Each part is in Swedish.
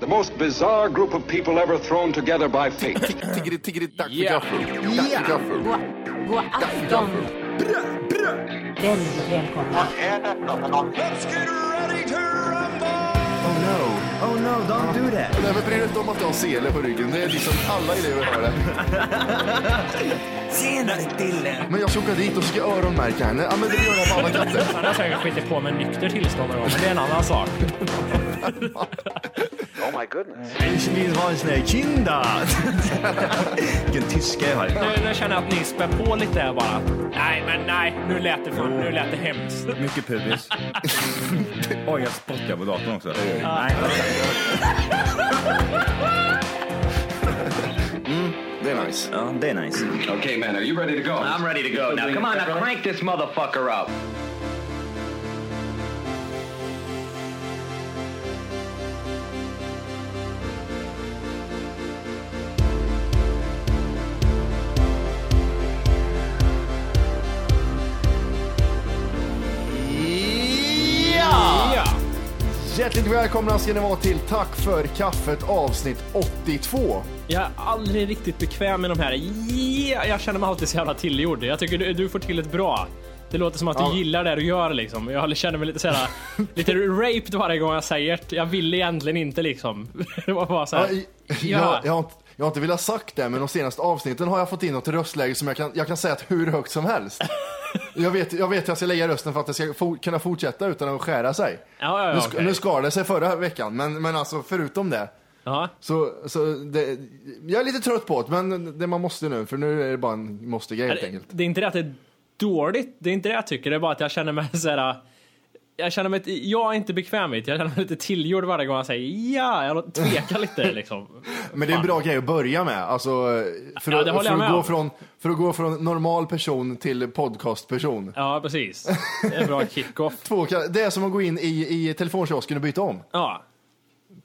The most bizarre group of people ever thrown together by fate. Tiggeri, tiggeri, dack för Ja. gaffel. Dack för Oh, gaffel. God, god afton. Väldigt välkomna. Oh no. Oh no, don't do that. Nej, men bry dig inte om att jag har sele på ryggen. Det är liksom alla elever har det. Senare Dille. Men jag ska åka dit och ska öronmärka henne. Ja, men det gör jag på alla katter. Han har säkert skitit på med nykter tillstånd någon gång, men det är en annan sak. Ich will ha sina kinder. Vilken tyska jag har. Nu, nu känner jag att ni spär på lite här bara. Nej, men nej, nu lät det, för, nu lät det hemskt. Mycket pubis. Oj, jag spottar på datorn också. Nej, Det är nice. ja, det är nice. Okay, man, are you ready to go? I'm ready to go now. Come on, now crank this motherfucker up. Ja! Hjärtligt välkomna ska ni vara till Tack för kaffet avsnitt 82. Jag är aldrig riktigt bekväm med de här. Yeah, jag känner mig alltid så jävla tillgjord. Jag tycker du, du får till ett bra. Det låter som att du Ja. gillar det du gör liksom. Jag känner mig lite såhär, lite raped varje gång jag säger det. Jag vill egentligen inte liksom. Det var bara Ja, såhär. i- Ja. Jag, jag, har inte, jag har inte velat sagt det, men de senaste avsnitten har jag fått in något röstläge som jag kan, jag kan säga att hur högt som helst. Jag vet, jag vet att jag ska lägga rösten för att det ska for, kunna fortsätta utan att skära sig. Ja, ja, ja, nu, sk- okej. nu skar det sig förra veckan, men, men alltså förutom det. Ja. Så, så det, jag är lite trött på det, men det man måste nu, för nu är det bara en måste-grej helt det, enkelt. det är inte det att det är dåligt, det är inte det jag tycker, det är bara att jag känner mig såhär jag känner mig, jag är inte bekväm i det. Jag känner mig lite tillgjord varje gång jag säger ja, jag tvekar lite liksom. Men det är en bra grej att börja med, alltså, för, Ja, att, det för, håller jag att med gå om. från, för att gå från normal person till podcastperson. Ja, precis. Det är en bra kick-off. Två, ka- det är som att gå in i, i telefonkiosken och byta om, Ja.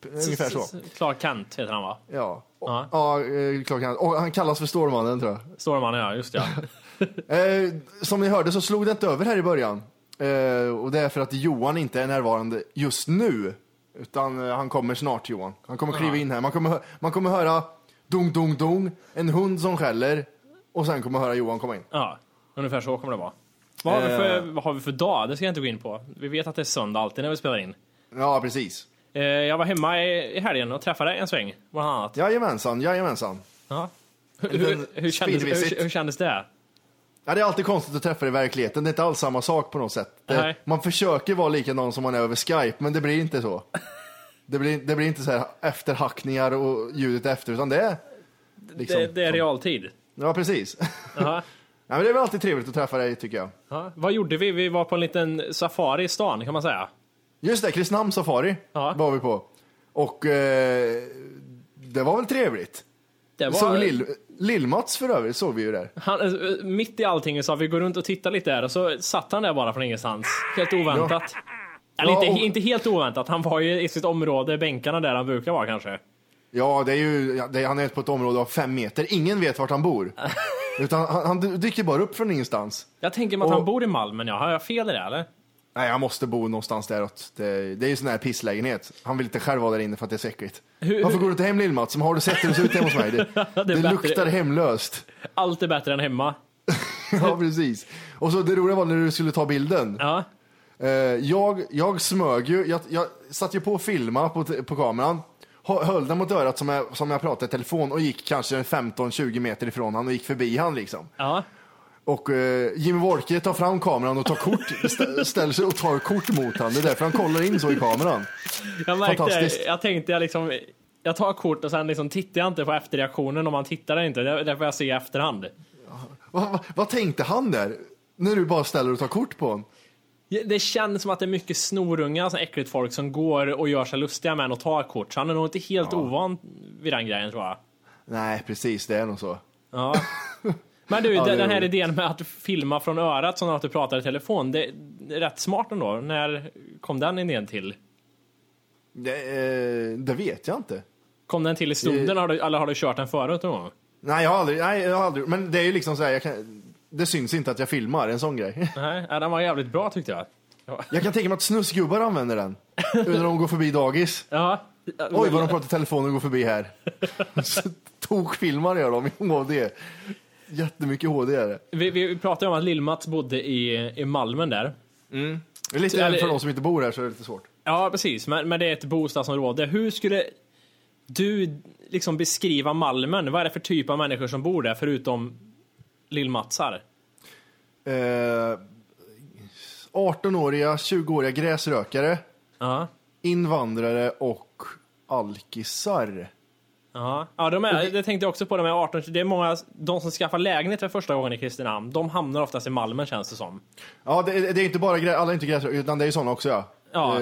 Eh, ungefär så. Clark Kent heter han va? Ja, Ja. ja eh, klart kan. Och han kallas för Stålmannen tror jag. Stormannen ja, just det. Eh, som ni hörde så slog det inte över här i början. Eh, och det är för att Johan inte är närvarande just nu. Utan eh, han kommer snart Johan. Han kommer kliva in här. Man kommer, hö- man kommer höra dong, dong, dong. En hund som skäller. Och sen kommer man höra Johan komma in. Ja, ungefär så kommer det vara. Vad har, vi Eh. för, vad har vi för dag? Det ska jag inte gå in på. Vi vet att det är söndag alltid när vi spelar in. Ja, precis. Eh, Jag var hemma i i helgen och träffade en sväng, bland annat. Jajamensan, jajamensan. Ja. Hur, liten hur, hur, kändes, speedvisit. hur, hur kändes det? Ja, det är alltid konstigt att träffa det i verkligheten. Det är inte alls samma sak på något sätt. Det, Nej. man försöker vara likadan som man är över Skype, men det blir inte så. Det blir, det blir inte så här efterhackningar och ljudet efter, utan det är... Liksom, det, det är realtid. Ja, precis. Ja. Ja, men det är väl alltid trevligt att träffa dig, tycker jag. Ja. Vad gjorde vi? Vi var på en liten safari i stan kan man säga. Just det, Kristinehamns safari Ja. var vi på. Och eh, det var väl trevligt. Det Vi Såg Lill- Lill-Mats för övrigt, såg vi ju där. han, eh, mitt i allting sa vi går runt och tittar lite här och så satt han där bara från ingenstans. Helt oväntat. Eller Ja, inte, och- inte helt oväntat, han var ju i sitt område, bänkarna där han brukar vara kanske. Ja, det är ju, ja, det, han är på ett område av fem meter. Ingen vet vart han bor. Utan han, han dyker bara upp från ingenstans. Jag tänker mig att Och- han bor i Malmen, ja. har jag fel i det eller? Nej, han måste bo någonstans däråt. Det, det är ju sån här pisslägenhet. Han vill inte själv vara där inne för att det är så äckligt. Varför går du inte hem lill Har du sett hur det ser ut hemma hos mig? Det, det, bättre. luktar hemlöst. Allt är bättre än hemma. ja, precis. Och så det roliga var när du skulle ta bilden. Ja. Eh, jag, jag smög ju, jag, jag satt ju på och filma på, t- på kameran, hö- höll den mot örat som jag, som jag pratade i telefon och gick kanske en 15-20 meter ifrån han och gick förbi han liksom. ja. Och eh, Jimmy Wolke tar fram kameran och tar kort, stä, ställer sig och tar kort mot han. Det är därför han kollar in så i kameran. Jag märkte, Fantastiskt. jag tänkte jag liksom, jag tar kort och sen liksom tittar jag inte på efterreaktionen om han tittar inte. Det det får jag se i efterhand. Va, va, vad tänkte han där? När du bara ställer och tar kort på honom? Det känns som att det är mycket snorunga, alltså äckligt folk som går och gör sig lustiga med en och tar kort. Så han är nog inte helt ovan vid den grejen tror jag. Nej, precis, det är nog så. Ja. Men du, Ja, det är den här roligt. idén med att filma från örat som att du pratar i telefon, det är rätt smart ändå. När kom den idén till? Det, eh, det vet jag inte. Kom den till i stunden har du, eller har du kört den förut någon gång? Nej, jag har aldrig, nej, jag har aldrig men det är ju liksom så här, jag kan, det syns inte att jag filmar, en sån grej. Nej, ja, den var jävligt bra tyckte jag. Jag kan tänka mig att snusgubbar använder den. När de går förbi dagis. Ja, Oj vad de pratar i telefon och går förbi här. Så Tokfilmar gör de i HD. Jättemycket HD är det. Vi, vi pratade om att Lill-Mats bodde i, i Malmen där. det är lite Eller- för de som inte bor här så är det lite svårt. Ja, precis. Men, men det är ett bostadsområde. Hur skulle du liksom beskriva Malmen? Vad är det för typ av människor som bor där, förutom Lill-Matsar? Eh, 18-åriga, 20-åriga gräsrökare, Ja. invandrare och alkisar. Ja, ja de är, det tänkte jag också på. De är 18, det är många, de som skaffar lägenhet för första gången i Kristinehamn, de hamnar oftast i Malmen känns det som. Ja, det, är- det är inte bara grä, alla är inte gräsrökare, utan det är ju sådana också ja. Ja. Eh,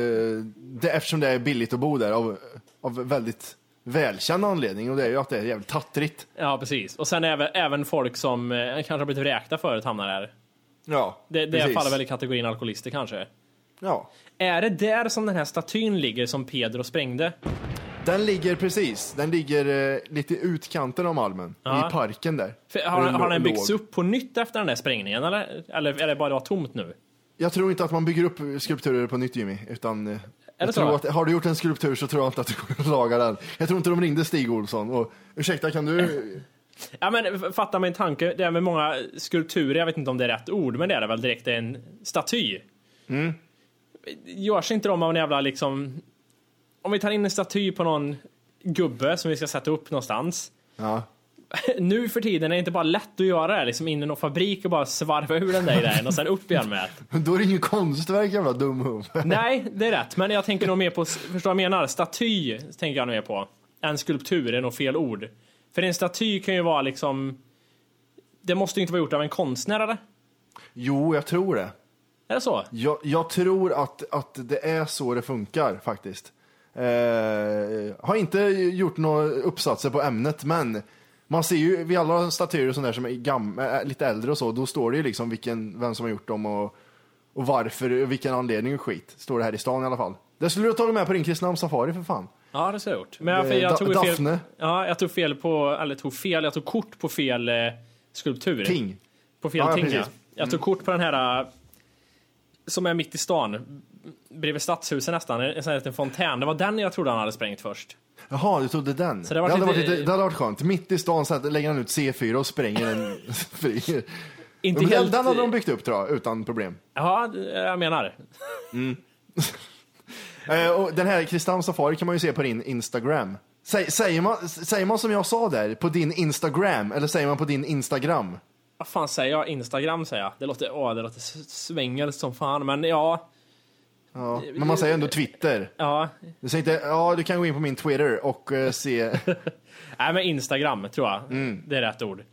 det, eftersom det är billigt att bo där av, av väldigt välkänd anledning och det är ju att det är jävligt tattrigt. Ja, precis. Och sen även, även folk som eh, kanske har blivit vräkta förut hamnar där. Ja, Det, det precis. faller väl i kategorin alkoholister kanske. Ja. Är det där som den här statyn ligger som Pedro sprängde? Den ligger precis, den ligger eh, lite i utkanten av Malmen, Ja. i parken där. För, har, Eller har den lå- byggts låg. upp på nytt efter den där sprängningen eller? Eller, eller bara det var tomt nu? Jag tror inte att man bygger upp skulpturer på nytt Jimmy, utan eh, det jag så? tror att, har du gjort en skulptur så tror jag inte att du kommer att laga den. Jag tror inte de ringde Stig Olsson och ursäkta kan du? Ja men f- fatta min tanke, det är med många skulpturer, jag vet inte om det är rätt ord, men det är det väl direkt, det är en staty. Mm. Görs inte de av en jävla liksom, om vi tar in en staty på någon gubbe som vi ska sätta upp någonstans. Ja. Nu för tiden är det inte bara lätt att göra det, liksom in i någon fabrik och bara svarva ur den där grejen och sen upp igen med det. Då är det ju konstverk jävla dumhuvud. Nej, det är rätt, men jag tänker nog mer på, förstår vad jag menar? Staty tänker jag nog mer på. En skulptur är nog fel ord. För en staty kan ju vara liksom, det måste ju inte vara gjort av en konstnär eller? Jo, jag tror det. Är det så? Jag, jag tror att, att det är så det funkar faktiskt. Eh, har inte gjort några uppsatser på ämnet, men man ser ju vid alla statyer och sånt där som är gam, eh, lite äldre och så, då står det ju liksom vilken, vem som har gjort dem och, och varför, och vilken anledning och skit. Står det här i stan i alla fall. Det skulle du ha tagit med på din Kristinehamns safari för fan. Ja, det skulle jag ha gjort. Men jag, Eh, jag Da- tog ju fel, Daphne. ja, jag tog fel på, eller tog fel, jag tog kort på fel eh, skulptur. Ting. På fel Ja, ja, ting, ja. precis. Mm. Jag tog kort på den här eh, som är mitt i stan, bredvid stadshuset nästan, en sån här liten fontän. Det var den jag trodde han hade sprängt först. Jaha, du trodde den. Så det, det har varit hade varit lite- lite, det hade varit skönt. Mitt i stan så här lägger han ut C4 och spränger den. fri. Inte Men den, helt... den hade de byggt upp tror jag, utan problem. Ja, det- jag menar. Eh, och den här Kristian Safari kan man ju se på din Instagram. Säg, säger, man, säger man som jag sa där, på din Instagram, eller säger man på din Instagram? Vad fan säger jag? Instagram säger jag. Det låter, åh, det låter s- svengelskt som fan, men ja. Ja, men man säger ändå Twitter. Ja, Du säger inte, ja du kan gå in på min Twitter och eh, se. Nej, men Instagram tror jag. Det är rätt ord.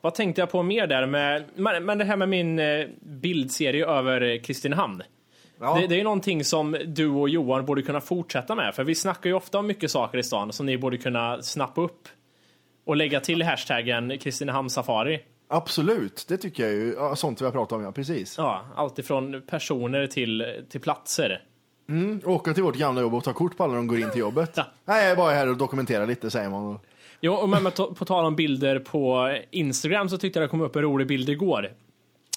Vad tänkte jag på mer där med, men, men det här med min eh, bildserie över eh, Kristinehamn. Ja. Det, det är ju någonting som du och Johan borde kunna fortsätta med, för vi snackar ju ofta om mycket saker i stan som ni borde kunna snappa upp och lägga till hashtaggen Kristinehamn Safari. Absolut, det tycker jag ju. Ja, sånt vi har pratat om, ja precis. Ja, alltifrån personer till, till platser. Åka till vårt gamla jobb och ta kort på alla de går in till jobbet. Ja. Nej, jag är bara här och dokumenterar lite säger man. Jo, och men, men to- på tal om bilder på Instagram så tyckte jag det kom upp en rolig bild igår.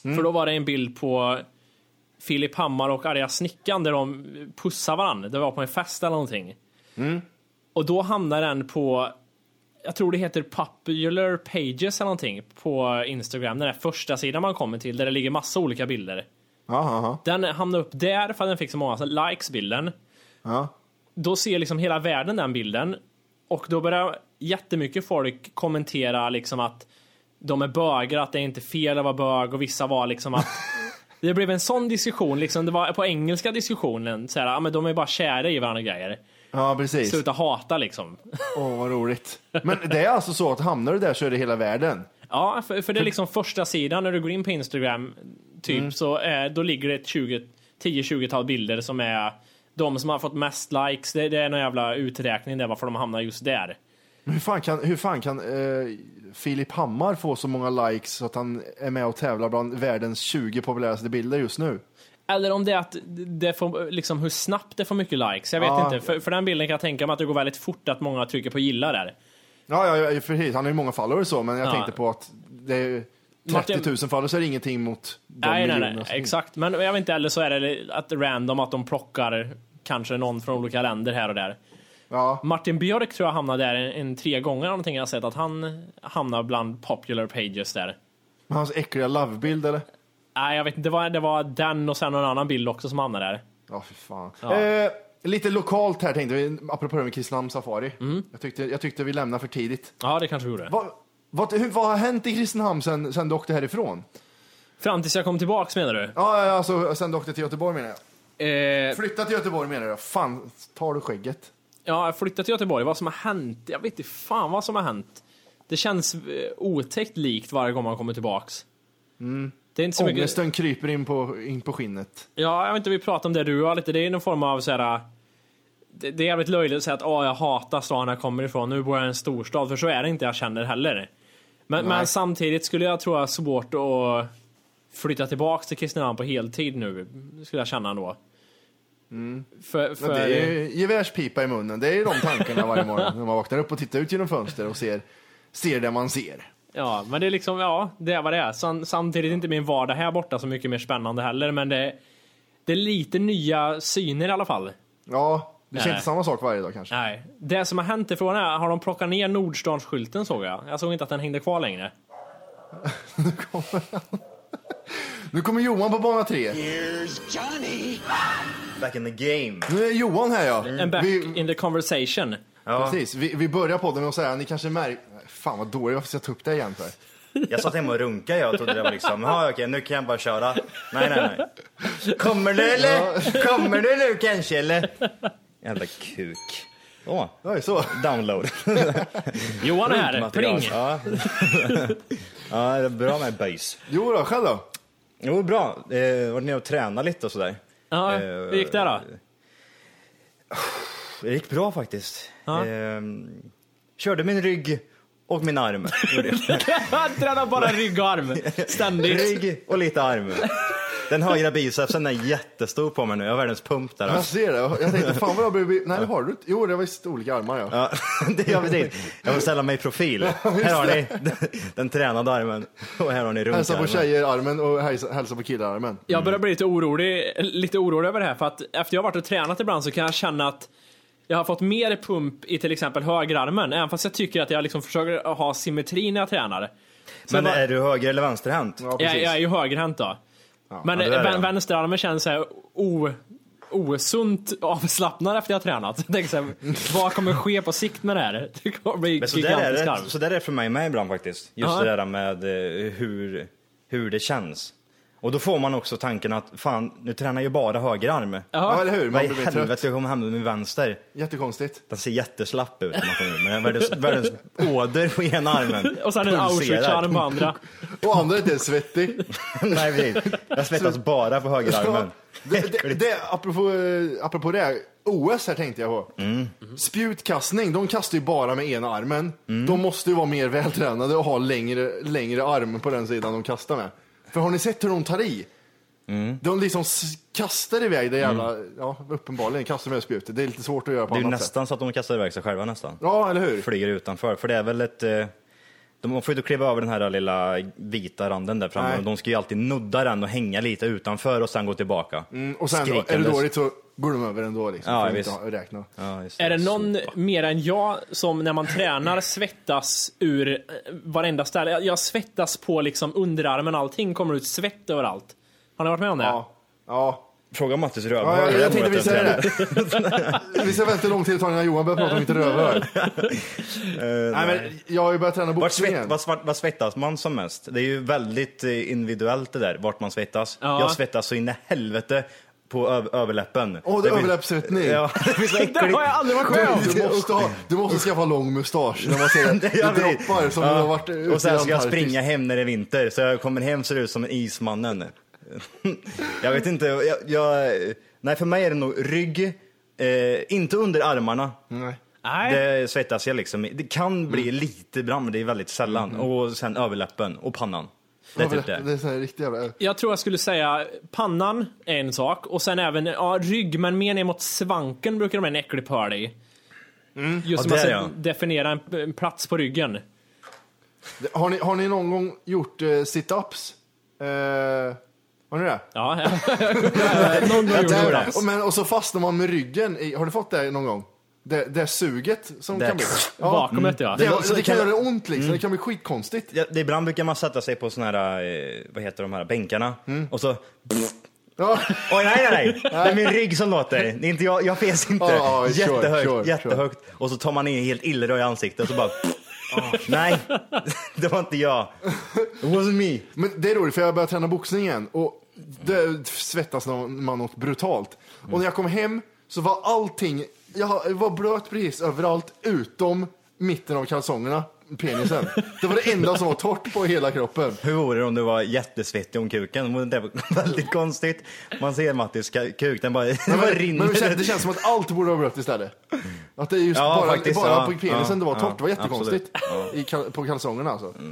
För då var det en bild på Filip Hammar och arga snickan där de pussar varandra. Det var på en fest eller någonting. Och då hamnar den på, jag tror det heter Popular Pages eller någonting på Instagram. Den där första sidan man kommer till där det ligger massa olika bilder. Aha, aha. Den hamnade upp där för att den fick så många likes bilden. Ja. Då ser liksom hela världen den bilden och då börjar jättemycket folk kommentera liksom att de är bögar, att det är inte fel att vara bög och vissa var liksom att det blev en sån diskussion, liksom det var på engelska diskussionen, så här, ja, men de är bara kära i varandra och grejer. Ja, precis. Sluta hata liksom. Åh, vad roligt. Men det är alltså så att hamnar du där så är det hela världen. Ja, för, för det är liksom första sidan när du går in på Instagram, typ, Mm. så eh, då ligger det ett 20 10-20-tal bilder som är de som har fått mest likes. Det, det är någon jävla uträkning där varför de hamnar just där. Men Hur fan kan, hur fan kan eh, Filip Hammar få så många likes så att han är med och tävlar bland världens 20 populäraste bilder just nu? Eller om det är att det får, liksom, hur snabbt det får mycket likes. Jag vet Ja. inte. För, för den bilden kan jag tänka mig att det går väldigt fort att många trycker på gilla där. Ja, ja, ja precis. Han har ju många followers så, men jag Ja. tänkte på att det är Martin- 30 000 followers är ingenting mot de nej, nej, miljonerna nej. som- Exakt. Men jag vet inte, eller så är det att random att de plockar kanske någon från olika länder här och där. Ja. Martin Björk tror jag hamnade där en, en tre gånger eller någonting. Jag har sett att han hamnar bland popular pages där. Med hans äckliga lovebild eller? Nej, jag vet inte. Det var, det var den och sen en annan bild också som hamnade där. Ja, fy fan. Ja. Eh, lite lokalt här tänkte vi, apropå det med Kristinehamn Safari. Mm. Jag, tyckte, jag tyckte vi lämnade för tidigt. Ja, det kanske vi gjorde. Vad, vad, hur, vad har hänt i Kristinehamn sen, sen du åkte härifrån? Fram tills jag kom tillbaks menar du? Ja, ja, alltså sen du åkte till Göteborg menar jag. Eh, Flytta till Göteborg menar jag. Fan, tar du skägget? ja, jag flyttade till Göteborg. Vad som har hänt? Jag vet inte fan vad som har hänt. Det känns eh, otäckt likt varje gång man kommer tillbaks. Det är inte så mycket... Ångesten kryper in på, in på skinnet. Ja, jag vet inte, vi pratade om det du har lite. Det är någon form av så här. Det, det är jävligt löjligt att säga att åh jag hatar stan jag kommer ifrån. Nu bor jag i en storstad. För så är det inte jag känner heller. Men, men samtidigt skulle jag tro jag ha svårt att flytta tillbaks till Kristinehamn på heltid nu. Skulle jag känna ändå. För, för, Mm. Men det är ju gevärspipa i munnen. Det är ju de tankarna varje morgon när man vaknar upp och tittar ut genom fönster och ser, ser det man ser. Ja, men det är liksom, ja, det är vad det är. Sam- Samtidigt är inte min vardag här borta så mycket mer spännande heller. Men det, det är lite nya syner i alla fall. Ja, du ser Nej. inte samma sak varje dag kanske. Nej. Det som har hänt ifrån är, har de plockat ner Nordstans-skylten såg jag. Jag såg inte att den hängde kvar längre. Nu kommer Johan på bana tre. Back in the game. Nu är Johan här ja. And back Vi, in the conversation. precis, vi, vi börjar podden med att säga, ni kanske märker... Fan vad dålig, varför ska jag ta upp det igen för? Jag satt hemma och runkade jag och trodde det var liksom, ja okej nu kan jag bara köra. Nej nej nej. Kommer du eller? Kommer du nu kanske eller? Jävla kuk. Åh, Oj, så. download. Johan är här, Material. pling! Ja. ja, det är bra med böjs. Jo då, själv då? Jo, bra. Eh, var nere och tränade lite och sådär. Ja, Eh, hur gick det då? Det gick bra faktiskt. Ja. Eh, körde min rygg och min arm. Gjorde jag. Han eh. tränar bara rygg och arm. Ständigt. Rygg och lite arm. Den högra bicepsen är jättestor på mig nu. Jag har världens pump där. Jag Alltså. ser det. Jag tänkte, fan vad jag blev... Nej, det har du inte. Jo, det var visst olika armar ja. Ja, det gör vi dit. Jag vill ställa mig i profil. Här har ni den tränade armen och här har ni Hälsa på runkarmen. tjejer-armen och hälsa, hälsa på killar-armen. Jag börjar bli lite orolig, lite orolig över det här för att efter jag har varit och tränat ibland så kan jag känna att jag har fått mer pump i till exempel högerarmen, även fast jag tycker att jag liksom försöker ha symmetri när jag tränar. Så Men jag, bara- är du höger eller vänsterhänt? Ja, jag, precis. jag är ju högerhänt då. Men ja, det är vän- det. vänsterarmen känns så här o, osunt avslappnad efter jag har tränat. Jag tänker så här, vad kommer ske på sikt med det här? Det kommer bli Men så där, är gigantisk arm. det, så där är det för mig med ibland faktiskt. Just Ja. det där med eh, hur, hur det känns. Och då får man också tanken att fan, nu tränar jag bara högerarm. Ja, Ja, eller hur? Vad Man i blir mer trött. helvete, jag kommer hem med min vänster. Jättekonstigt. Den ser jätteslapp ut när man kommer in. Men den har världens, världens åder på ena armen. och sen en Pulserar. Auschwitz-arm på andra. Och andra är inte ens svettig. Nej precis. Jag svettas bara på högerarmen. Det, det, det, apropå, eh, apropå det, OS här tänkte jag på. Mm. Spjutkastning, de kastar ju bara med ena armen. Mm. De måste ju vara mer vältränade och ha längre, längre arm på den sidan de kastar med. För har ni sett hur de tar i? Mm. De liksom s- kastar iväg det jävla, ja uppenbarligen kastar med spjutet. Det är lite svårt att göra på Det är ju annat sätt. nästan så att de kastar iväg sig själva nästan. Ja, eller hur? Flyger utanför. För det är väl ett... eh, De får ju inte kliva över den här lilla vita randen där framme. Nej. De ska ju alltid nudda den och hänga lite utanför och sen gå tillbaka. Mm, Och sen då, är det Skrikandes. dåligt så går de över ändå liksom. Ja, för att visst. inte ha- räkna. Ja, just Är det någon Sopa. mer än jag som när man tränar svettas ur eh, varenda ställe? Jag- Jag svettas på liksom underarmen, allting kommer ut svett överallt. Har ni varit med om det? Ja. Ja, Fråga Mattis Ja, rövhål. jag, jag, tänkte vi säger det. vi ser väldigt lång tid det tar innan Johan börjar prata om mitt rövhål. nej, men jag har ju börjat träna Eh, Vart boxning svett, igen. vad, svart- vad svettas man som mest? Det är ju väldigt eh, individuellt det där, vart man svettas. Ja. Jag svettas så in i helvete på ö- överläppen. Åh, det är blir- överläppssvettning. Ja, det blir så Det har jag aldrig äckligt. Du, varit med om! du, måste ha, du måste skaffa lång mustasch när man ser det. Jag Det vet. droppar som om Ja. du har varit ute Och sen i ska jag Antarktis. springa hem när det är vinter, så jag kommer hem ser ut som en ismannen. jag vet inte, jag, jag, nej för mig är det nog rygg, eh, inte under armarna. Nej. Nej. Det svettas jag liksom i. Det kan bli lite bra, men det är väldigt sällan. Och sen överläppen och pannan. Det är typ Det det. är sån här riktig jävla... Jag tror jag skulle säga pannan är en sak och sen även ja, rygg, men mer ner mot svanken brukar de ha en äcklig pöl i. Just Ja, som där, att ja. definiera en, en plats på ryggen. Har ni, har ni någon gång gjort eh, sit-ups? Eh, har ni det? Ja, någon gång gjorde jag det. Och, men, och så fastnar man med ryggen i, Har ni fått det någon gång? det, det suget som Det- kan bli. Ja. Vakuumet ja. Det, Det- det, så det det kan kan- Mm. göra ont liksom, det kan bli skitkonstigt. Ja, det- ibland brukar man sätta sig på såna här, eh, vad heter de här, bänkarna Mm. och så... Ja. Oj, nej, nej, nej! Det är min rygg som låter. Det är inte jag, jag finns inte. Ja, ja, sure, jättehögt, sure, jättehögt. Och så tar man in helt illröd i ansiktet och så bara... Ah, nej, det var inte jag. It wasn't me. Men det är roligt för jag började träna boxning igen och det svettas man något brutalt. Och när jag kom hem så var allting, jag var blöt precis överallt utom mitten av kalsongerna, penisen. Det var det enda som var torrt på hela kroppen. Hur vore det om du var jättesvettig om kuken? Det var väldigt konstigt. Man ser Mattis ka- kuk, den bara, den bara Men det rinner. känns, det känns som att allt borde vara blött istället. Att det är just Ja, bara, faktiskt, bara ja, på penisen ja, det var ja, torrt, det var jättekonstigt. I kal- på kalsongerna alltså. Det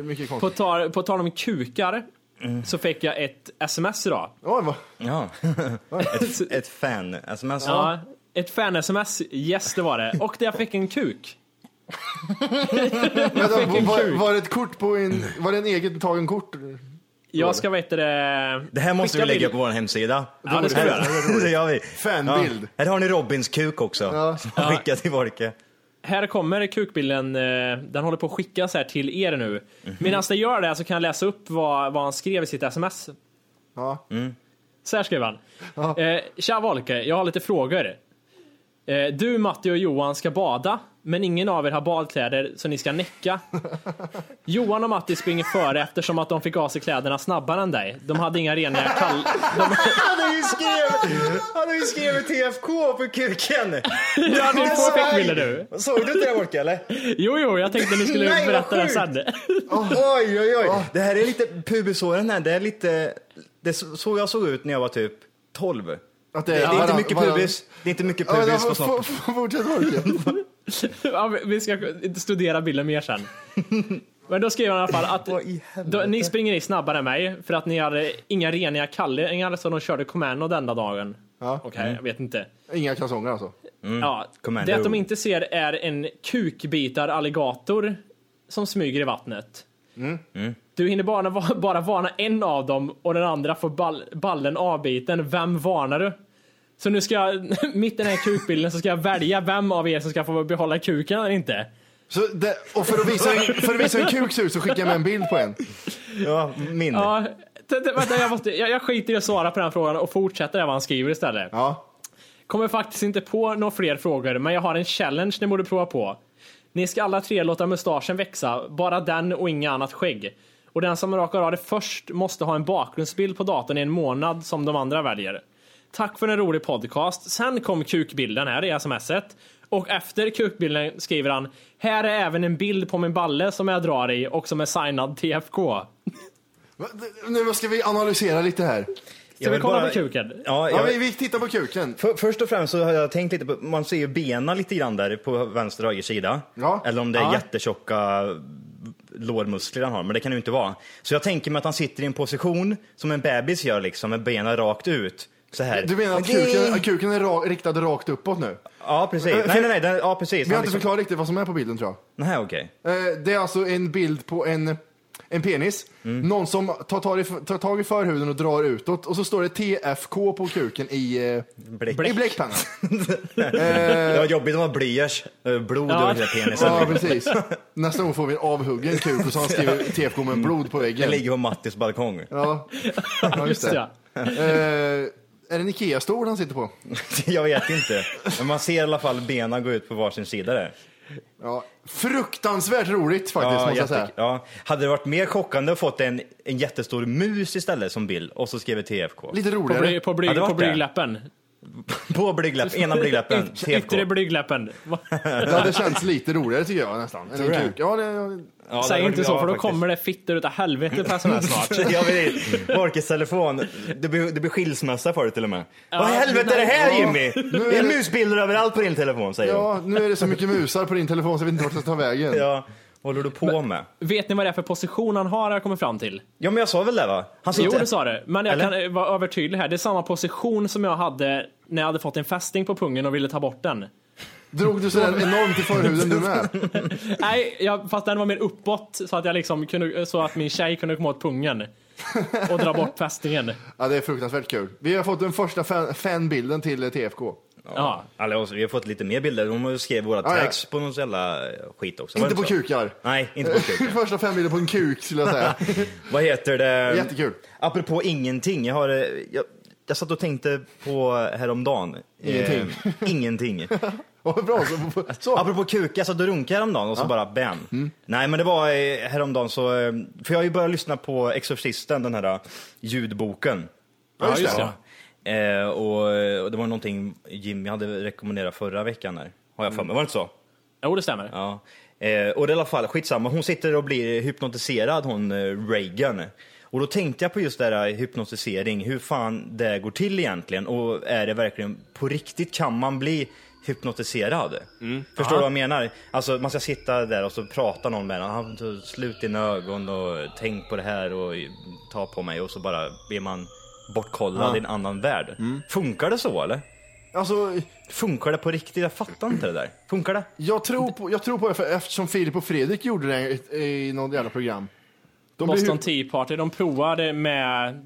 är Mycket På konstigt. tal, på tal om kukar så fick jag ett sms idag. Oj, vad- Mm. Ja. Ett, ett fan. Alltså, men så, Ja, ett fan-sms. Yes, det var det. Och där jag fick en kuk. Vänta, en var, kuk. var det ett kort på en, var det en eget tagen kort? Jag ska veta det... Det här måste skicka vi lägga bild. upp på vår hemsida. Ja, det ska vi göra. det gör vi. Fanbild. Ja. Här har ni Robins kuk också. Ja. Som Skicka till Volke. Här kommer kukbilden. eh, Den håller på att skickas här till er nu. Medan det gör det så kan jag läsa upp vad, vad han skrev i sitt sms. Ja. Så här skrev han. Ja. Eh, Tja Volke, jag har lite frågor. Eh, du, Matti och Johan ska bada, men ingen av er har badkläder så ni ska näcka. Johan och Matti springer före eftersom att de fick av sig kläderna snabbare än dig. De hade inga rena kall... De... Han har ju skrivit, han har ju skrivit TFK på kuken. Ja, du får Nej! fickbilder nu. Såg du inte det Volke eller? Jo, jo, jag tänkte ni skulle Nej, vad berätta det sen. Oj, oj, oj. Det här är lite pubisåren här. Det är lite, det så jag såg ut när jag var typ 12. Att Det är inte varann- mycket varann- pubis. Det är inte mycket Ja, men alltså, pubis på f- snoppen. f- f- Fortsätt Orke. Ja, vi- vi ska studera bilden mer sen. Men då skriver han i alla fall att Vad i helvete? då, ni springer i snabbare än mig för att ni hade inga rena kallingar så de körde Commando den där dagen. Ja. Okej, jag vet inte. Inga kalsonger alltså. Ja, Commando. det att de inte ser är en kukbitar alligator som smyger i vattnet. Mm. Du hinner bara, va- bara varna en av dem och den andra får ball, ballen avbiten. Vem varnar du? Så nu ska jag, mitt i den här kukbilden så ska jag välja vem av er som ska få behålla kuken eller inte. Så det, och för att visa en, för att visa en kuk så- så skickar jag med en bild på en. Ja, min. Ja, t- t- vänta, jag, måste, jag, jag skiter i att svara på den här frågan och fortsätter där vad han skriver istället. Ja. Kommer faktiskt inte på några fler frågor, men jag har en challenge ni borde prova på. Ni ska alla tre låta mustaschen växa, bara den och inga annat skägg. Och den som rakar av det först måste ha en bakgrundsbild på datorn i en månad som de andra väljer. Tack för en rolig podcast. Sen kom kukbilden här i smset. Och efter kukbilden skriver han Här är även en bild på min balle som jag drar i och som är signad TFK. Va- Nu ska vi analysera lite här. Ska vi kolla på kuken? Ja, Ja, jag, vi, vi tittar på kuken. För, först och främst så har jag tänkt lite på, man ser ju benen lite grann där på vänster och höger sida. Ja. Eller om det är Ja. jättetjocka lårmuskler han har, men det kan det ju inte vara. Så jag tänker mig att han sitter i en position som en bebis gör liksom, med benen rakt ut. Så här. Du menar att Men det- kuken, att kuken är ra, riktad rakt uppåt nu? Ja, precis. Nej, nej, nej. Den, ja, precis. Vi har Han inte liksom- förklarat riktigt vad som är på bilden tror jag. Nej, okej. Eh, Det är alltså en bild på en, en penis. Någon som tar tag, i, tar tag i förhuden och drar utåt och så står det TFK på kuken i, eh, Bläck. i bläckpennan. Det var jobbigt om det var blyerts, eh, blod Ja. över hela penisen. Ja, precis. Nästa gång får vi en avhuggen kuk och så har han skrivit TFK med blod på Den väggen. ligger på Mattis balkong. Ja, ja just Just det. ja. Eh, är det en Ikea-stol han sitter på? jag vet inte. Men man ser i alla fall benen gå ut på varsin sida där. Ja, fruktansvärt roligt faktiskt, måste jag jätte- säga. ja. Hade det varit mer chockande att fått en, en jättestor mus istället som bild och så skrev TFK? Lite På, roligare. bly, på, bly, Ja, det var på det. blygdläppen. På blygdläpp, ena blygdläppen, Yt- Yttre TFK. blygdläppen. Det hade känts lite roligare tycker jag nästan. Än en Tror du kuk. Ja, det, ja, Ja, Säg det inte var- så ja, för då faktiskt. kommer det fitter utav helvete på sms snart. Jag vet inte. Volkes telefon, det blir, det blir skilsmässa för det till och med. Vad i men helvete är det här ja. Jimmy? är Det är det- musbilder överallt på din telefon säger hon. ja, nu är det så mycket musar på din telefon så jag vet inte vart jag ska ta vägen. Ja, vad håller du på med? Vet ni vad det är för position han har har jag kommit fram till? Ja men jag sa väl det va? Han Jo, sitter- det sa du. Men jag Eller? kan eh, vara övertydlig här. Det är samma position som jag hade när jag hade fått en fästing på pungen och ville ta bort den. Drog du sådär enormt i förhuden du med? Nej, jag, fast den var mer uppåt så att, jag liksom kunde, så att min tjej kunde komma åt pungen och dra bort fästingen. Ja, det är fruktansvärt kul. Vi har fått den första fan, fanbilden till eh, TFK. Ja. Alla, oss- Alltså, vi har fått lite mer bilder. De skrev våra ja. tags på någon jävla eh, skit också. var Inte det på så? kukar. Nej, inte på kuk. Första fem bilder på en kuk skulle jag säga. Vad heter det? Jättekul. Apropå ingenting. Jag, har, eh, jag, jag satt och tänkte på häromdagen. Ingenting. Eh, ingenting. Vad bra. Så, så. Apropå kuk, jag satt och runkade häromdagen och så bara bam. Mm. Nej men det var eh, häromdagen så, eh, för jag har ju börjat lyssna på Exorcisten, den här eh, ljudboken. Ja, just det. Eh, och, eh, och det var någonting Jimmy hade rekommenderat förra veckan här. Har jag för Mm. mig, var det inte så? Jo, det stämmer. Ja. Eh, och det är i alla fall, skitsamma, hon sitter och blir hypnotiserad hon eh, Reagan. Och då tänkte jag på just det här eh, hypnotisering, hur fan det går till egentligen och är det verkligen på riktigt, kan man bli hypnotiserad? Förstår du vad jag menar? Alltså man ska sitta där och så prata någon med en, "Ah, så slut dina ögon och tänk på det här och ta på mig och så bara blir man bortkollad i en annan värld. Funkar det så eller? Alltså, Funkar det på riktigt? Jag fattar inte det där. Funkar det? jag, tror på, jag tror på det för eftersom Filip och Fredrik gjorde det i, i något jävla program. De blev Boston hu- Tea Party, de provade med...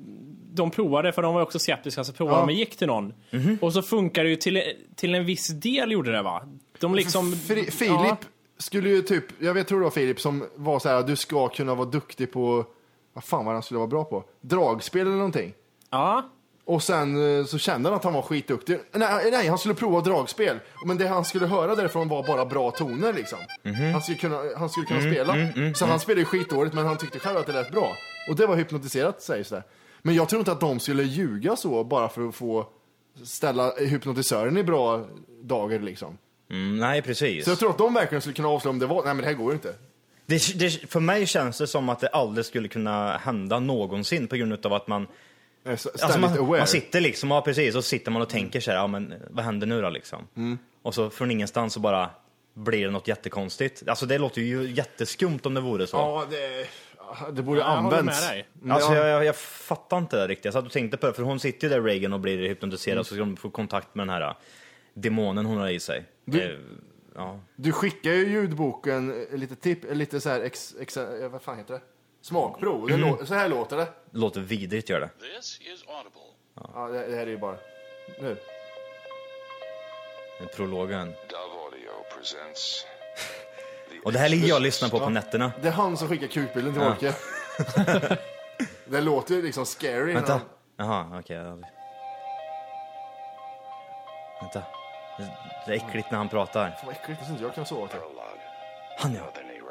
De provade, för de var ju också skeptiska, så provade Ja. de med gick till någon. Mhm. Och så funkar det ju till, till en viss del, gjorde det va? De liksom... Fri- Filip Ja. skulle ju typ, jag vet, tror det var Filip som var så här, du ska kunna vara duktig på, vad fan var det han skulle vara bra på? Dragspel eller någonting. Ja. Och sen eh, så kände han att han var skitduktig. Nej, nej han skulle prova dragspel. Men det han skulle höra därifrån var bara bra toner liksom. Mhm. Han skulle kunna, han skulle kunna Mm, spela. så han spelade ju skitdåligt men han tyckte själv att det lät bra. Och det var hypnotiserat sägs det. Men jag tror inte att de skulle ljuga så bara för att få ställa hypnotisören i bra dagar liksom. Mm, nej precis. Så jag tror att de verkligen skulle kunna avslöja om det var, nej men det här går ju inte. Eh, Det, det, för mig känns det som att det aldrig skulle kunna hända någonsin på grund av att man, Eh, s- Ständigt alltså man, aware. man sitter liksom, ja precis, och så sitter man och tänker så här, ja men vad händer nu då liksom? Mm. Och så från ingenstans så bara blir det något jättekonstigt. Alltså det låter ju jätteskumt om det vore så. Ja, det, det borde jag håller använts. med dig. Alltså jag, jag, jag fattar inte det riktigt. Jag satt och tänkte på det, för hon sitter ju där Reagan och blir hypnotiserad Mm. så ska hon få kontakt med den här äh, demonen hon har i sig. Eh, ja. Du skickar ju ljudboken eh, lite tipp, eh, lite så här ex, ex, eh, vad fan heter det? Smakprov. Det lå- så här låter det. Låter vidrigt gör det. This is Audible. Ja, det, det här är ju bara... Nu. Prologen. Dove Audio presents. Och det här ligger jag och lyssnar på på nätterna. Det är han som skickar kukbilden till Volke. det låter ju liksom scary. när Vänta. han- Jaha, okej. ja. Vänta. Det- Det är äckligt när han pratar. Vad äckligt, det syns jag kan sova till. Prologue. Han ja. Northern Iraq.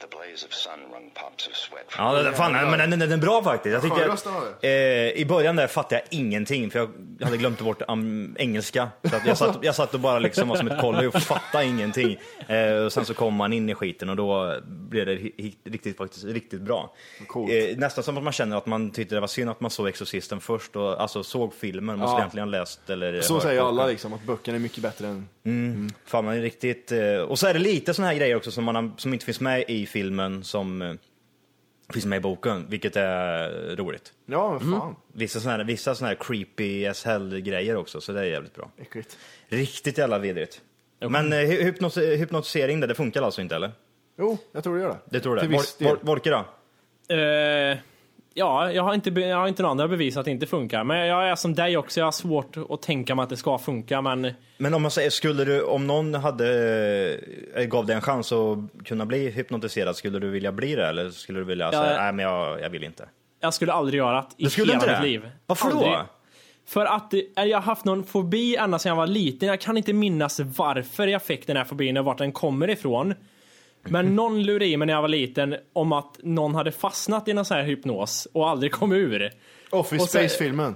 The blaze of sun wrung pops of sweat from Ja, det, fan, nej, men den, den är bör faktiskt. Jag tyckte Skön jag, röst han hade. eh, I början där fattade jag ingenting för jag jag hade glömt bort um, engelska. Så att jag, satt, jag satt och bara liksom var som ett kollo och fattade ingenting. Eh, och sen så kom han in i skiten och då blev det hi- hi- riktigt, faktiskt, riktigt bra. Coolt. Eh, nästan som att man känner att man tyckte det var synd att man såg Exorcisten först och alltså såg filmen och Ja. ja. egentligen läst eller Så hört säger boken. alla liksom, att böckerna är mycket bättre än... Fan, man är riktigt... eh, Och så är det lite såna här grejer också som, man, har- som inte finns med i filmen som eh, finns med i boken, vilket är eh, roligt. Ja, men fan. Vissa såna här, vissa såna här creepy as hell-grejer också, så det är jävligt bra. Äckligt. Riktigt jävla vidrigt. Men eh, hy- hypnos hypnotisering där, det funkar alltså inte eller? Jo, jag tror det gör det. Det tror du? Till det? viss Vor- del. vor- Vorke då? Eh, ja, jag har, inte, be- jag har inte några andra bevis att det inte funkar. Men jag är som dig också, jag har svårt att tänka mig att det ska funka. Men Men om man säger, skulle du, om någon hade, eh, gav dig en chans att kunna bli hypnotiserad, skulle du vilja bli det eller skulle du vilja säga, nej men jag, jag vill inte? jag skulle aldrig göra det i Du skulle hela inte mitt det? liv. Varför aldrig. då? För att det- eh, jag har haft någon fobi ända sedan jag var liten. Jag kan inte minnas varför jag fick den här fobin och vart den kommer ifrån. Mhm. Men någon lurade i mig när jag var liten om att någon hade fastnat i någon sån här hypnos och aldrig kom ur. Office Och så- Space-filmen.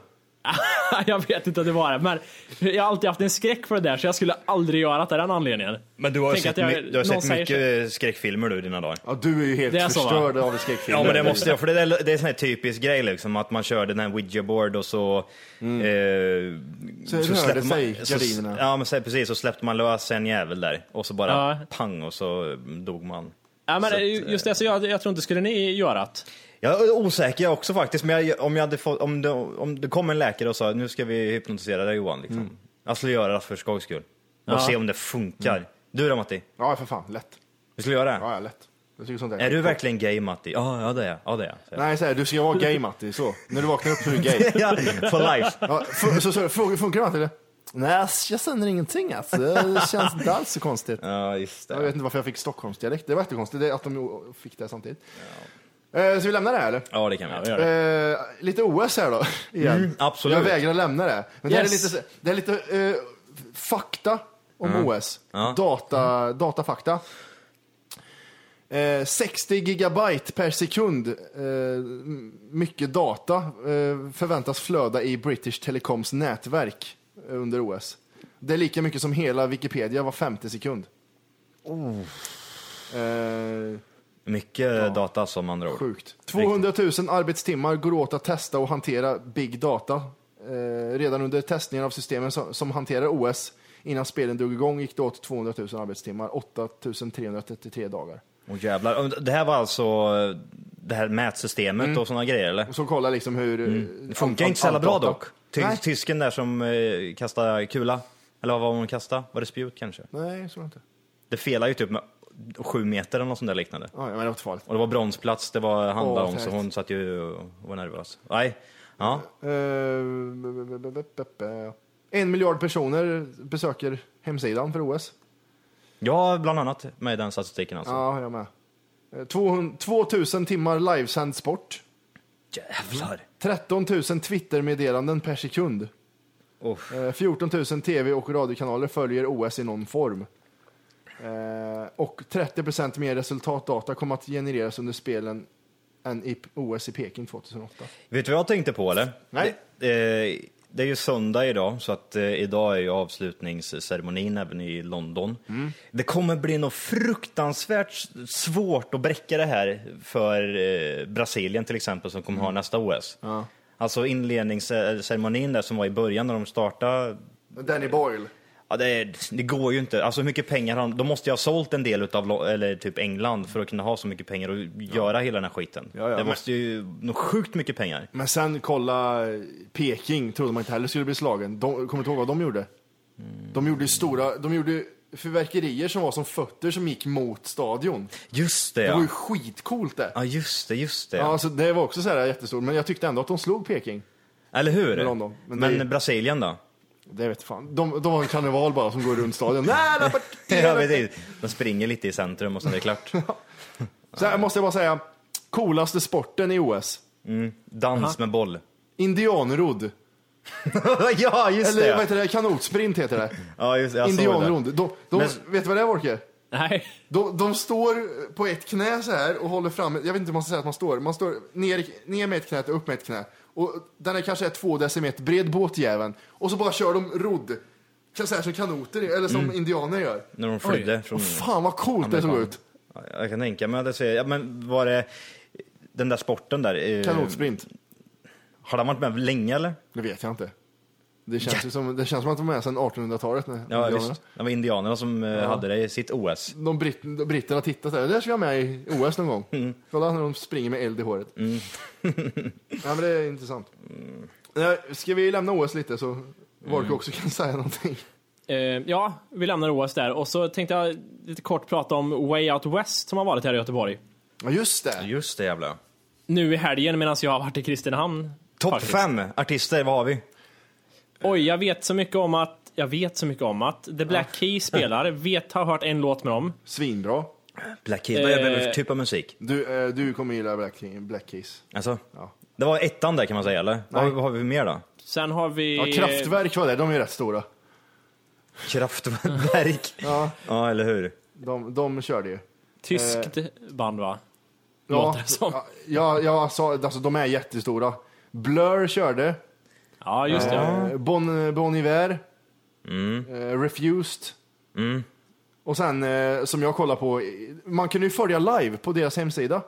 jag vet inte att det var det, men jag har alltid haft en skräck för det där så jag skulle aldrig göra det av den anledningen. Men du har Tänk sett, att jag- my- du har någon sett säger mycket skräckfilmer du i dina dagar. Ja, du är ju helt Det är så, va? förstörd av skräckfilmer. Ja men det måste jag, för det är, det är en sån här typisk grej liksom, att man kör den här Ouija board och så... Eh, Mm. Så rörde släpper sig så- gardinerna. Ja men så, precis, så släppte man lös en jävel där och så bara Ja. pang och så mm, dog man. Ja, men eh, Så att, just det, så jag, jag tror inte skulle ni göra det. Jag är osäker jag också faktiskt, men jag, om, jag hade fått, om, det, om det kom en läkare och sa nu ska vi hypnotisera dig Johan, liksom. Mm. jag skulle göra det för skojs skull. Och se om det funkar. Du då Matti? Ja, för fan. Lätt. Vi skulle göra det? Mm. Ja, ja, lätt. Jag tycker sånt där Är du verkligen gay Matti? Ja, ja det är jag. Ja, det är jag. Nej, så här, du ska vara gay Matti, så. När du vaknar upp så är du gay. Ja, for life. Ja, fu- så, så, fråga- funkar det Matti eller? Nej, jag känner ingenting alltså. Det känns inte alls så konstigt. Ja, just Jag vet det. inte varför jag fick Stockholmsdialekt. Det var jättekonstigt det är att de fick det samtidigt. Eh, Så vi lämnar det här eller? Ja, det kan vi göra. Gör det. Eh, lite OS här då. Igen. Mm, absolut. Jag vägrar lämna det. Men det här är Yes. lite, det här är lite eh, fakta om OS. Ja. Data, datafakta. Eh, 60 gigabyte per sekund, eh, m- mycket data, eh, förväntas flöda i British Telecoms nätverk eh, under OS. Det är lika mycket som hela Wikipedia var 50 sekund. Eh, Mycket data som andra ord. Sjukt. 200 000 arbetstimmar går åt att testa och hantera big data. Eh, redan under testningen av systemen som, som hanterar OS innan spelen drog igång gick det åt 200 000 arbetstimmar, 8 333 dagar. Åh jävlar. Det här var alltså eh, det här mätsystemet och sådana grejer eller? Mm. Och så kolla liksom hur... eh, Mm. Det funkar allt- inte så jävla allt bra data- dock. Ty Nej, tysken där som eh, kastade kula. Eller vad var hon kastade? Var det spjut kanske? nej så inte. Det felade ju typ med sju meter eller något sånt där liknande. Ja, men det var inte farligt. Och det var bronsplats det var handlade Åh, om så fett. hon satt ju och var nervös. Nej. Ja. Eh, b- b- b- b- b- b- Eh, En miljard personer besöker hemsidan för OS. ja, bland annat med den statistiken alltså. Ja, jag med. Eh, 200 2000 timmar livesänd sport. Jävlar! 13 000 Twitter-meddelanden per sekund. Uff. Eh, 14 000 tv och radiokanaler följer OS i någon form. Eh, Och 30 mer resultatdata kommer att genereras under spelen än i OS i Peking 2008. Vet du vad jag tänkte på eller? Nej. Det, eh, det är ju söndag idag, så att eh, idag är ju avslutningsceremonin även i London. Mm. Det kommer bli något fruktansvärt svårt att bräcka det här för eh, Brasilien till exempel som kommer ha Mm. nästa OS. Alltså inledningsceremonin där som var i början när de startade Danny Boyle. Ja, det, det går ju inte. Alltså hur mycket pengar har de? De måste ju ha sålt en del utav, eller typ England för att kunna ha så mycket pengar och göra hela den här skiten. Ja, ja, det men- måste ju, nog sjukt mycket pengar. Men sen kolla eh, Peking, trodde man inte heller skulle bli slagen. De, kommer du ihåg vad de gjorde? De gjorde ju stora, de gjorde ju fyrverkerier som var som fötter som gick mot stadion. Just det Det var ja. ju skitcoolt det. Ja just det, just det. Ja, alltså, det var också så här jättestort, men jag tyckte ändå att de slog Peking. Eller hur? med London. Men Men, det är ju- Brasilien då? Det vet fan. De, de har en karneval bara som går runt stadion. Nej, nej, bara- Jag vet inte. De springer lite i centrum och sen är det klart. Så här måste jag bara säga, coolaste sporten i OS. Dans med boll. Indianrodd. ja just Eller vad det! heter det? Kanotsprint heter det. Ja, just, det, jag såg det. Indianrodd. De, de, Men- Vet du vad det är Wolke? Nej. De, de står på ett knä så här och håller fram, jag vet inte hur man ska säga att man står, man står ner, ner med ett knä och upp med ett knä. Och den är kanske är två decimeter bred båtjäveln. Och så bara kör de rodd. Så här som kanoter, eller som Mm. indianer gör. När de flydde från... Fan vad coolt det såg ut. Ja, Jag kan tänka mig att det ser... Ja, men var det den där sporten där? eh, Kanotsprint. Har den varit med länge eller? Det vet jag inte. Det känns, ju som, det känns som att de är sedan 1800-talet. när- Ja, indianerna. visst. Det var indianerna som eh, hade det i sitt OS. De britt, de britterna tittar så här, det där ska jag med i OS någon gång. Kolla när de springer med eld i håret. ja, men det är intressant. Eh, Ska vi lämna OS lite så Volker också kan säga någonting? Eh, ja, vi lämnar OS där. Och så tänkte jag lite kort prata om Way Out West som har varit här i Göteborg. Ja, just det. Just det jävla. Nu i helgen medan jag har varit i Kristinehamn. Topp faktiskt. fem artister, vad har vi? Oj, jag vet så mycket om att jag vet så mycket om att The Black Keys spelar, vet, har hört en låt med dem. Svinbra. Black Keys, vad är det för Eh. typ av musik? Du, eh, du kommer gilla Black, King- Black Keys. Alltså, Ja. Det var ettan där kan man säga, eller? Vad, vad har vi mer då? Sen har vi... eh, Ja, kraftverk var det, de är ju rätt stora. Kraftwerk. ja. eller hur? De, de körde ju. Tyskt band va? Ja, Låter det som. ja, ja, jag sa, alltså de är jättestora. Blur körde. Ja, just det. Eh, Bon, bon Iver. Eh, Refused. Och sen eh, som jag kollar på, man kan ju följa live på deras hemsida.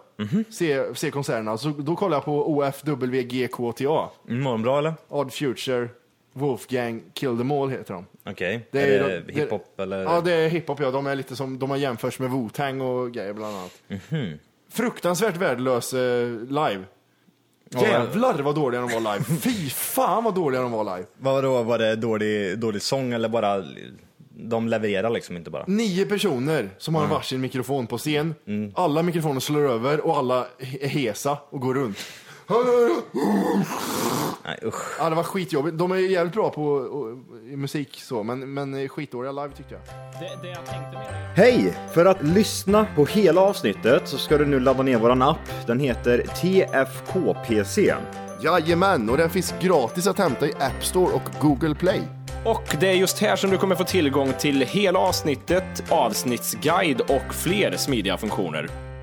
Se, se konserterna. Så då kollar jag på OFWGKTA. Mm, Mår de bra eller? Odd Future, Wolfgang, Kill them all heter de. Okej. Det är, ju det de- hiphop eller? Ja, det är hiphop ja. De är lite som, de har jämförts med Wu-Tang och grejer bland annat. Fruktansvärt värdelös eh, live. Jävlar vad dåliga de var live. Fy fan vad dåliga de var live. Vadå, var det dålig, dålig sång eller bara de levererar liksom inte bara. Nio personer som har varsin mikrofon på scen. Alla mikrofoner slår över och alla är hesa och går runt. Nej usch. Ja, det var skitjobbigt. De är ju jävligt bra på och, i musik så, men, men skitdåliga live tyckte jag. Det, det jag tänkte med det. Hej! För att lyssna på hela avsnittet så ska du nu ladda ner våran app. Den heter TFKPC. Jajamän, och den finns gratis att hämta i App Store och Google Play. Och det är just här som du kommer få tillgång till hela avsnittet, avsnittsguide och fler smidiga funktioner.